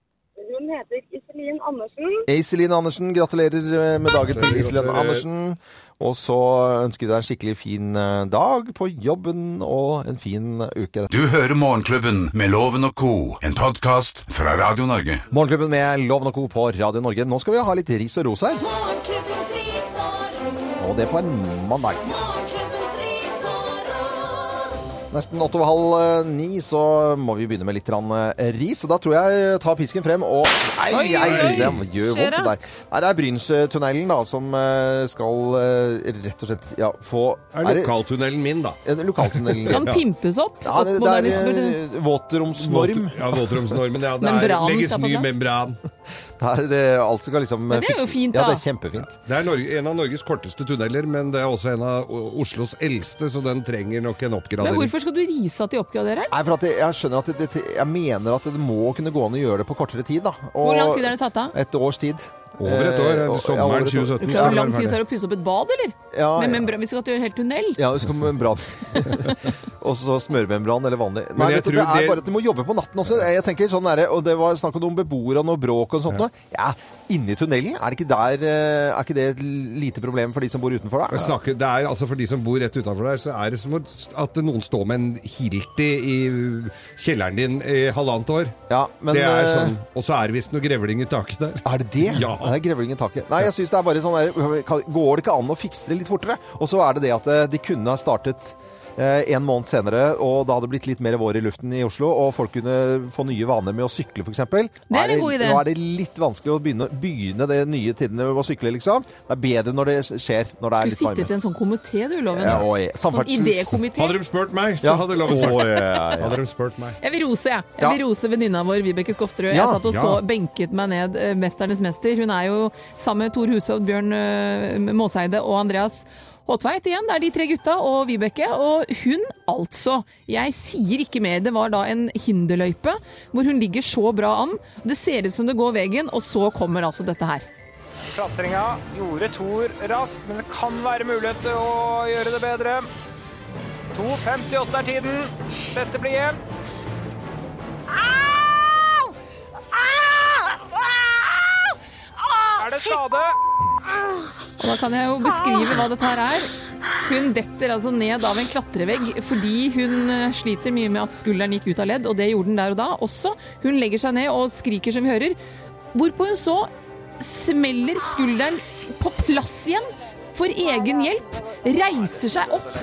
H: Hun heter Iselin Andersen.
B: Iselin Andersen. Gratulerer eh, med dagen til Iselin Andersen. Og så ønsker vi deg en skikkelig fin eh, dag på jobben og en fin eh, uke.
A: Du hører Morgenklubben med Loven og Co., en podkast fra Radio Norge.
B: Morgenklubben med Loven og Co. på Radio Norge. Nå skal vi ha litt ris og ros her,
F: Morgenklubbens ris og ros.
B: og det på en mandag.
F: Morgenklubbens ris og ros.
B: Nesten åtte og halv eh, ni, så må vi begynne med litt rann, eh, ris. Og da tror jeg eh, ta pisken frem og Nei,
C: Oi,
B: nei,
C: oi,
B: det
C: oi.
B: gjør
C: Skjer
B: vondt, det der. Nei, det er Brynstunnelen da, som eh, skal eh, rett og slett ja, få
D: er lokaltunnelen min, da.
B: Er det lokaltunnelen?
C: Kan pimpes opp.
B: Ja, det, det
C: opp moderne-
B: er eh, våtromsnorm.
D: Ja, Våtromsnormen. Ja, det er,
C: Membranen
D: legges
C: skal på
D: ny
C: plass.
D: membran.
B: Det er, eh, alt som skal liksom
C: Men det er jo
B: fikse-
C: fint,
B: Ja,
C: da.
B: det er kjempefint.
D: Det er Norge, en av Norges korteste tunneler, men det er også en av O- Oslos eldste, så den trenger nok en
C: Men
D: oppgradering.
C: hvorfor skal du rise at de oppgraderer?
B: Nei, for at jeg, jeg skjønner at det, det, jeg mener at det må kunne gå an å gjøre det på kortere tid, da. Og
C: Hvor lang tid er det satt av?
B: Et års tid.
D: Over et
B: Eh,
D: år.
B: og- ja, over et
D: Sommeren
B: år.
C: Du
D: 2017. skal
C: klarer hvor
D: den
C: lang
D: være
C: tid det
D: ferdig.
C: tar å pusse opp et bad, eller?
B: Ja,
C: Med membran, vi skal ha til en hel tunnel.
B: Ja, det skal membran. og så smørmembran eller vanlig. Nei,
D: jeg
B: vet du,
D: tror
B: det er
D: det-
B: bare at du må jobbe på natten også. Jeg tenker sånn er det, og det var snakk om noen beboere og noe bråk og sånt. noe. Ja, inni tunnelen? Er det ikke der eh, Er ikke det et lite problem for de som bor utenfor,
D: Jeg
B: da?
D: snakker, det er, altså For de som bor rett utenfor der, så er det som at at noen står med en Hilti i kjelleren din i halvannet år.
B: Ja, men
D: det er
B: eh,
D: sånn, Og så er det visst noe grevling i taket der.
B: Er det det?
D: Ja.
B: Det er grevling i taket. Nei, jeg syns det er bare sånn der kan- Går det ikke an å fikse det litt fortere? Og så er det det at eh, de kunne ha startet eh, en måned senere, og da hadde det blitt litt mer vår i luften i Oslo, og folk kunne få nye vaner med å sykle, f.eks. Det
C: en god idé.
B: Nå er det litt vanskelig å begynne, begynne det nye tidene med å sykle, liksom. Det er bedre når det skjer, når det
C: Du
B: er litt
C: sitter
B: varme.
C: til en sånn komité, du, Loven.
B: Ja, og, eh,
C: Sånn
B: samferdsels-
C: idékomité.
D: Hadde de spurt meg, så
B: Ja.
D: hadde loven sagt
B: Å, ja, ja, ja.
D: Hadde de spurt meg.
C: Jeg vil rose, jeg. Jeg vil
B: Ja.
C: rose venninna vår Vibeke Skofterud.
B: Ja.
C: Jeg satt og
D: Ja.
C: så benket meg ned eh, 'Mesternes mester'. Hun er jo sammen med Tor Hushovd, Bjørn eh, Måseide og Andreas Håtveit igjen. Det er de tre gutta og Vibeke. Og hun, altså. Jeg sier ikke mer. Det var da en hinderløype hvor hun ligger så bra an. Det ser ut som det går veien, og så kommer altså dette her.
I: Klatringa gjorde Thor raskt, men det kan være mulighet til å gjøre det bedre. 2.58 er tiden. Dette blir jevnt. Er det skade?
C: Og da kan jeg jo beskrive hva dette her er. Hun detter altså ned av en klatrevegg fordi hun eh, sliter mye med at skulderen gikk ut av ledd, og det gjorde den der og da også. Hun legger seg ned og skriker som vi hører, hvorpå hun så smeller skulderen på plass igjen for egen hjelp, reiser seg opp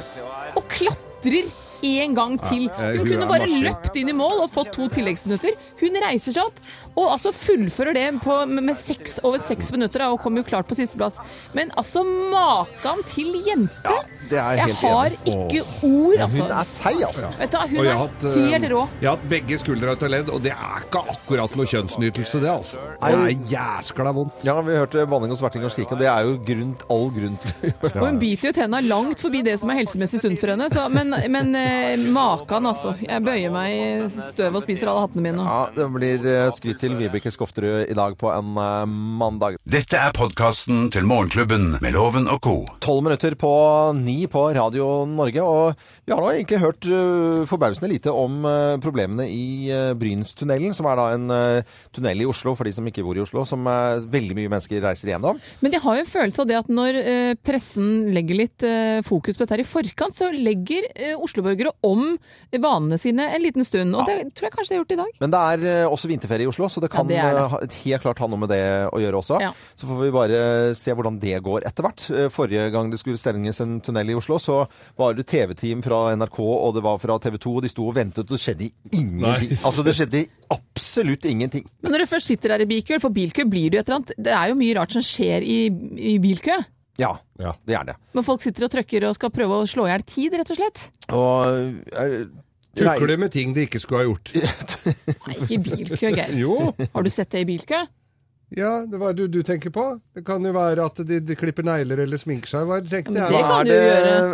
C: og klatrer en gang til.
D: eh,
C: Hun
D: hun
C: kunne
D: er
C: bare
D: maskin.
C: løpt inn i mål og fått to tilleggsminutter. Hun reiser seg opp og altså fullfører det på, med med seks over seks minutter da, og kommer jo klart på sisteplass. Men altså maken til jente!
B: Det er jeg
C: Jeg
B: helt
C: har
B: enig.
C: ikke ord,
B: Åh.
C: altså.
B: Hun er seig, altså.
C: Vet du, hva,
D: Og
C: hun
D: jeg
C: er
D: har hatt, eh,
C: helt rå.
D: Jeg har hatt begge skuldre ut av ledd, og det er ikke akkurat noe kjønnsnytelse, det, altså. Det er jæskla vondt.
B: Ja, vi hørte banning og sverting og skrik, og det er jo grunn, all grunn til
C: Og hun biter jo tenna langt forbi det som er helsemessig sunt for henne. Så, men men eh, makan, altså. Jeg bøyer meg i støvet og spiser alle hattene mine. nå.
B: Ja, det blir eh, skryt til Vibeke Skofterud i dag på en eh, mandag.
A: Dette er podkasten til Morgenklubben med Loven og co.
B: Tolv minutter på ni på Radio Norge, og vi har nå egentlig hørt eh, forbausende lite om eh, problemene i eh, Brynstunnelen, som er da en eh, tunnel i Oslo, for de som ikke bor i Oslo, som eh, veldig mye mennesker reiser gjennom.
C: Men jeg har jo en følelse av det at når eh, pressen legger litt eh, fokus på dette her i forkant, så legger eh, Oslo-borgere om banene sine en liten stund. Og det tror jeg kanskje de har gjort i dag.
B: Men det er eh, også vinterferie i Oslo, så det kan
C: det er det.
B: eh, ha- helt klart ha noe med det å gjøre også.
C: Ja.
B: Så får vi bare se hvordan det går etter hvert. Eh, Forrige gang det skulle stenges en tunnel i Oslo, så var det TV-team fra NRK, og det var fra TV 2, og de sto og ventet, og det skjedde ingenting. Altså, det skjedde absolutt ingenting.
C: Men når du først sitter der i bilkø, for bilkø blir det jo et eller annet Det er jo mye rart som skjer i, i bilkø.
B: Ja,
D: Ja.
B: det er det.
C: Men folk sitter og trøkker og skal prøve å slå i hjel tid, rett og slett.
B: Og... eh,
D: Tukler med ting de ikke skulle ha gjort.
C: Nei, ikke i bilkø, Geir.
D: Jo,
C: Har du sett det i bilkø?
D: ja, det var du, du tenker på. Det kan jo være at de, de klipper negler eller sminker seg. Hva tenkte
C: Men
D: jeg?
C: det
D: da?
B: Hva
C: kan
B: er
C: du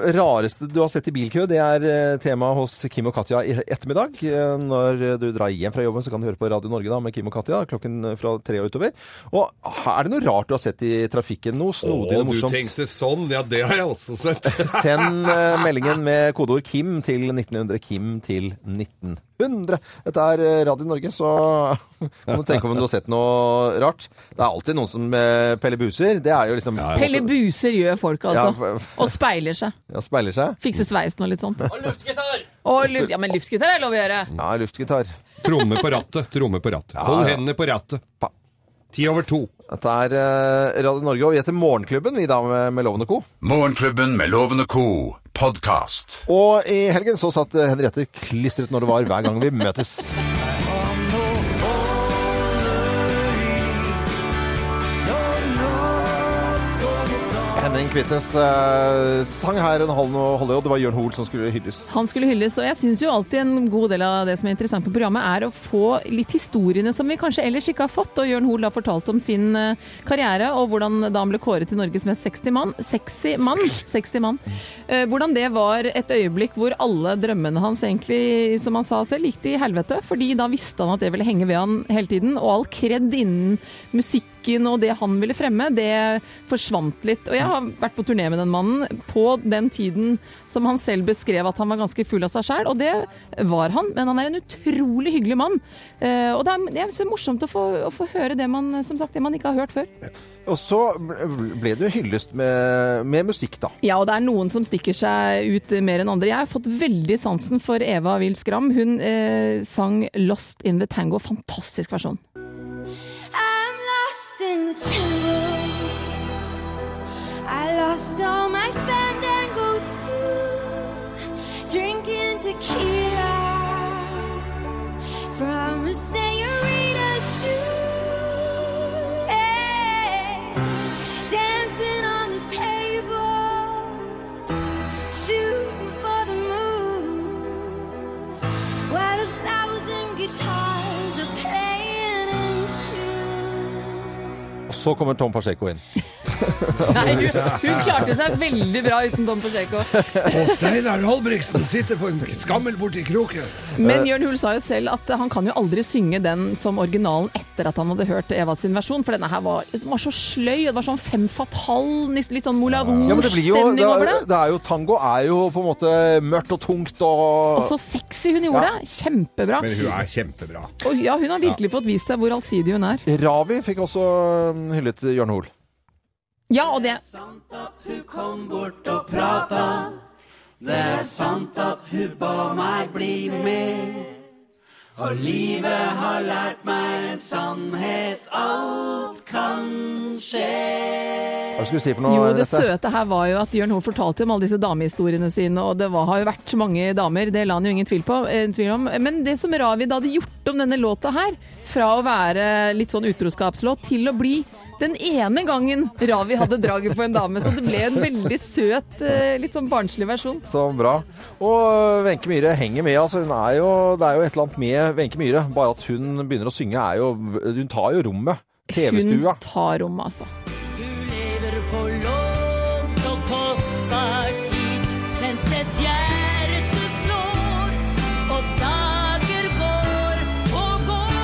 B: det rareste du har sett i bilkø? Det er eh, tema hos Kim og Katja i ettermiddag. Eh, Når du drar hjem fra jobben, så kan du høre på Radio Norge da, med Kim og Katja klokken eh, fra tre og utover. Og er det noe rart du har sett i trafikken? Noe snodig
D: Å,
B: og
D: du
B: morsomt?
D: tenkte sånn? Ja, det har jeg også sett.
B: Send eh, meldingen med kodeord KIM til 1900. KIM til 1900. Dette er eh, Radio Norge, så kan du tenke om du har sett noe rart. Det er alltid noen som eh, peller buser. Det er jo liksom
C: Pelle Buser gjør folk, altså.
B: Ja,
C: Og speiler seg.
B: ja, speiler seg.
C: Fikser sveisen og litt sånt. Og luftgitar! Og luft, ja, men luftgitar er lov å gjøre.
B: Ja, luftgitar.
D: Tromme på rattet. Tromme på rattet. Hold
B: ja.
D: hendene på rattet.
B: Pa-
D: Ti over to.
B: Dette er eh, Radio Norge, og vi heter Morgenklubben, vi da med, med Loven og Co.
A: Morgenklubben med Loven og co. podkast.
B: Og i helgen så satt eh, Henriette klistret når det var hver gang vi møtes. Henning Kvitnes eh, sang her en halv og holde, og det var Jørn Hoel som skulle hylles.
C: Han skulle hylles, og jeg syns jo alltid en god del av det som er interessant på programmet, er å få litt historiene som vi kanskje ellers ikke har fått. Og Jørn Hoel har fortalt om sin eh, karriere og hvordan da han ble kåret til Norges mest 60 mann. Sexy mann. 60 mann. Eh, Hvordan det var et øyeblikk hvor alle drømmene hans egentlig, som han sa selv, gikk til helvete. Fordi da visste han at det ville henge ved han hele tiden, og all kred innen musikk musikken og det han ville fremme, det forsvant litt. Og jeg har vært på turné med den mannen på den tiden som han selv beskrev at han var ganske full av seg sjæl, og det var han. Men han er en utrolig hyggelig mann. Eh, Og det er, det er så morsomt å få, å få høre det man, som sagt, det man ikke har hørt før.
B: Og så ble- ble det jo hyllest med, med musikk, da.
C: Ja, og det er noen som stikker seg ut mer enn andre. Jeg har fått veldig sansen for Eva Wils Gram. Hun eh, sang 'Lost in the Tango'. Fantastisk versjon.
F: I'm lost in the tango. I lost all my fandango too. Drinking tequila from a senorita's shoe. Hey, dancing on the table, shooting for the moon. While a thousand guitars are playing in tune.
B: Og så kommer Tom Pacheco inn.
C: Nei, hun, hun klarte seg veldig bra uten Tom Pacheco.
D: Og Steinar Holbrigtsen sitter på en skammel borti kroken.
B: Eh,
C: Men Jørn Hoel sa jo selv at han kan jo aldri synge den som originalen etter at han hadde hørt Eva sin versjon, for denne her var, den var så sløy, og det var sånn fem fatal, nesten litt sånn Moulin
B: Ja, men det blir jo,
C: Rouge-stemning
B: det
C: over
B: er,
C: det.
B: det er jo Tango er jo på en måte mørkt og tungt og
C: Og så sexy hun gjorde det! Kjempebra.
D: Men hun er kjempebra.
C: Og ja, hun har virkelig fått vist seg hvor allsidig hun er.
B: Ravi fikk også mm, hyllet Jørn Hoel.
C: Ja, og det
B: Hva skulle du si for noe?
C: Jo, det
B: Henriette?
C: søte her var jo at Jørn Hoel fortalte om alle disse damehistoriene sine, og det var, har jo vært så mange damer, det la han jo ingen tvil, på, eh, tvil om. Men det som Ravid hadde gjort om denne låta her, fra å være litt sånn utroskapslåt til å bli den ene gangen Ravi hadde draget på en dame. Så det ble en veldig søt, eh, litt sånn barnslig versjon.
B: Så bra. Og uh, Wenche Myhre henger med. altså hun er jo, Det er jo et eller annet med Wenche Myhre. Bare at hun begynner å synge, er jo Hun tar jo rommet.
C: Hun
B: TV-stua.
C: tar rommet, altså.
J: Du lever på lånt og kostbar tid mens et hjerte slår og dager går og går.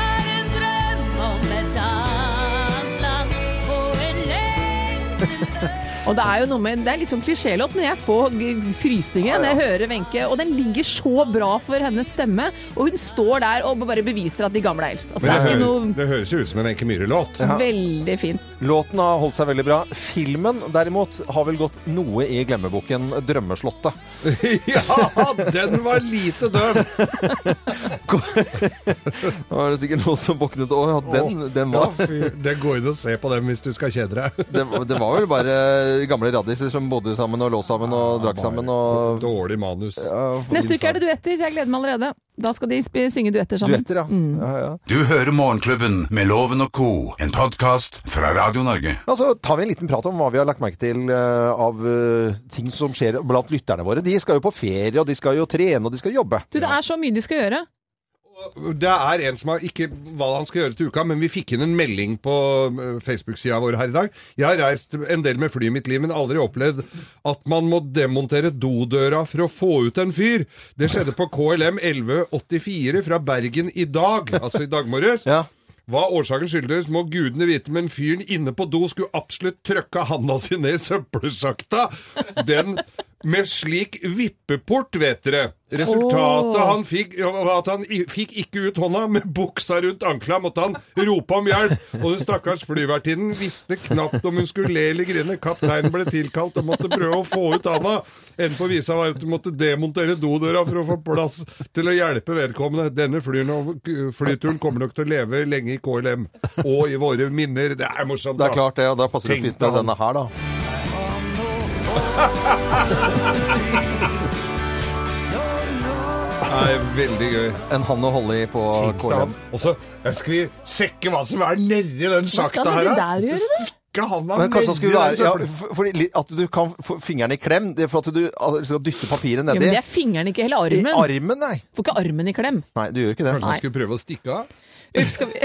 J: Her en drøm om et annet land og en lengsel
C: Og det er jo noe med, det er litt sånn klisjélåt, men jeg får g- frysninger når jeg hører Wenche. Og den ligger så bra for hennes stemme, og hun står der og bare beviser at de gamle er eldst. Altså, det
D: Men
C: er
D: det,
C: ikke
D: hø
C: noe
D: det høres jo ut som en Wenche Myhre-låt.
C: veldig fint.
B: Låten har holdt seg veldig bra. Filmen derimot har vel gått noe i glemmeboken 'Drømmeslottet'.
D: ja, den var lite døv!
B: Da var det sikkert noen som våknet og ja, den, den
D: Ja,
B: var
D: fy, det går inn og se på dem hvis du skal kjede deg.
B: det, var- det var vel bare gamle radiser som bodde sammen og lå sammen og drakk sammen og
D: Dårlig manus.
C: Neste uke er det duetter, så jeg gleder meg allerede. Da skal de sp- synge duetter sammen.
B: Duetter, ja. Mm. ja, ja.
A: Du hører Morgenklubben med Loven og Co., en podkast fra Radio Norge.
B: Ja, så tar altså, vi en liten prat om hva vi har lagt merke til eh, av eh, ting som skjer blant lytterne våre. De skal jo på ferie, og de skal jo trene, og de skal jobbe.
C: Du, det er så mye de skal gjøre.
D: Det er en som har ikke hva han skal gjøre til uka, men vi fikk inn en melding på eh, Facebook-sida vår her i dag. Jeg har reist en del med fly i mitt liv, men aldri opplevd at man må demontere dodøra for å få ut en fyr. Det skjedde på KLM 1184 fra Bergen i dag, altså i dag morges.
B: Ja.
D: Hva årsaken skyldes, må gudene vite, men fyren inne på do skulle absolutt trøkka handa si ned i søppelsjakta. Den med slik vippeport, vet dere. Resultatet
C: Åh.
D: han fikk, var at han i- fikk ikke ut hånda, med buksa rundt ankla måtte han rope om hjelp. Og den stakkars flyvertinnen visste knapt om hun skulle le eller grine. Kapteinen ble tilkalt og måtte prøve å få ut handa. Enden på visa var at hun måtte demontere dodøra for å få plass til å hjelpe vedkommende. Denne flyen og flyturen kommer nok til å leve lenge i KLM og i våre minner. Det er morsomt,
B: Det
D: da.
B: er klart det, og da passer det
D: Tenkte
B: fint med
D: han.
B: denne her, da.
D: Det er veldig gøy.
B: En hann å holde i på
D: Tenkte
B: KLM.
D: han. Og så jeg skal vi sjekke hva som er nedi den
C: Hva
D: sjakta
C: skal de
D: her, da.
C: der gjøre, da?
D: Ikke han da,
B: Men kanskje han skulle
D: nedi
B: være
D: den
B: ja,
D: søppel-
B: for, fordi li- At du kan få fingeren i klem, det er for at du at du skal dytte papiret
C: Jo, men
B: nedi.
C: det er fingeren, ikke hele
B: I
C: armen.
B: armen, nei.
C: Får ikke armen i klem.
B: Nei, du gjør ikke det.
D: Kanskje han skulle prøve å stikke av?
C: Ups, skal vi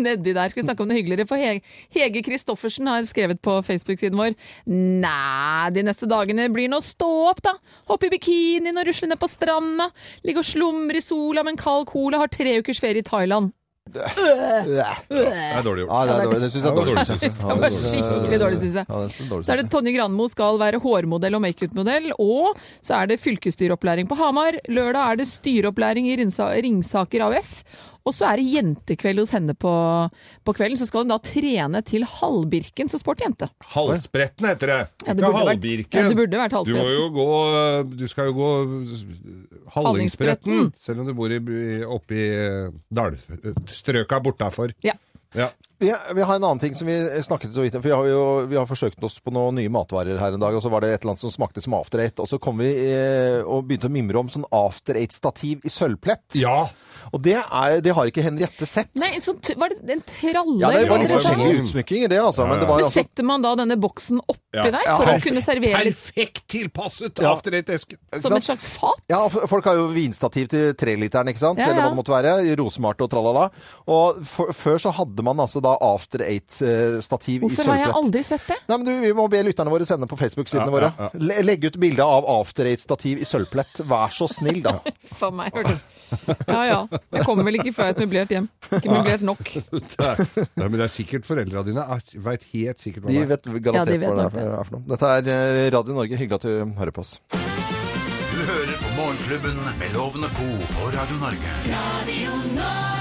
C: Nedi der skal vi snakke om noe hyggeligere. For Hege- Hege Kristoffersen har skrevet på Facebook-siden vår Næ, de neste dagene blir nå stå opp, da. Hoppe i bikinien og rusle ned på stranda. Ligge og slumre i sola med en kald cola. Har tre ukers ferie i Thailand.
D: Det er dårlig gjort.
B: Ja, det er dårlig. Det syns jeg er
D: Ja, det var
B: dårlig.
D: dårlig,
B: synes jeg.
D: synes jeg.
B: Ja,
C: Det var
B: synes jeg.
C: skikkelig dårlig, synes jeg.
B: Ja, det synes jeg er dårlig,
C: Så er det Tonje Granmo skal være hårmodell og makeupmodell, og så er det fylkesstyreopplæring på Hamar. Lørdag er det styreopplæring i Ringsa Ringsaker AUF. Og så er det jentekveld hos henne på, på kvelden. Så skal hun da trene til Halvbirken, så sporty jente.
D: Halsbretten heter det.
C: Ja, det
D: Ikke
C: burde vært-
D: halvbirken.
C: ja, det burde vært
D: Du, må
C: halsbretten.
D: jo gå, eh, du skal jo gå s- Hallingsbretten,
C: Hallingsbretten.
D: selv om du bor i, by- oppe i eh, dal, strøka bortafor.
C: Ja.
D: Ja.
B: Vi, vi har en annen ting som vi snakket så vidt om. for Vi har jo vi har forsøkt oss på noen nye matvarer her en dag, og så var det et eller annet som smakte som after eight. Og så kom vi eh, og begynte å mimre om sånn after eight-stativ i sølvplett.
D: ja.
B: Og det, er, det har ikke Henriette sett.
C: Nei, en sånn t var det en tralle?
B: ja, det
C: eller
B: var litt
C: hva det
D: Ja,
C: heter?
D: forskjellig.
B: forskjellige utsmykkinger, det altså. Men det var
C: Men
B: altså
C: setter man da denne boksen oppi
D: Ja.
C: der
B: Ja,
C: for å
B: perfekt.
C: kunne servere litt
D: Perfekt tilpasset
B: Ja.
D: after eight-esken.
B: ikke
C: som
B: sant?
C: et slags fat?
B: Ja, f- folk har jo vinstativ til treliteren, ikke sant?
C: Ja, ja.
B: Eller hva det måtte være. i Rosemart og tralala. Og for, før så hadde man altså da after eight-stativ i sølvplett.
C: Hvorfor har jeg aldri sett det?
B: Nei, men du, Vi må be lytterne våre sende på Facebook-sidene våre. Le- Legg ut bilde av After Eight-stativ i sølvplett. Vær så snill, da.
C: For meg, hørtes. Ja ja. Jeg kommer vel ikke fra et møblert hjem. Ikke møblert nok.
D: Nei, men det er sikkert foreldra dine veit helt sikkert hva
B: De
D: det er.
B: vet garantert
C: Ja, de vet
B: hva det
C: nok
B: er for- er for noe. Dette er eh, Radio Norge. Hyggelig at du hører på oss.
A: Du hører på Morgenklubben med Loven og Co. på Radio Norge.
F: Radio Norge.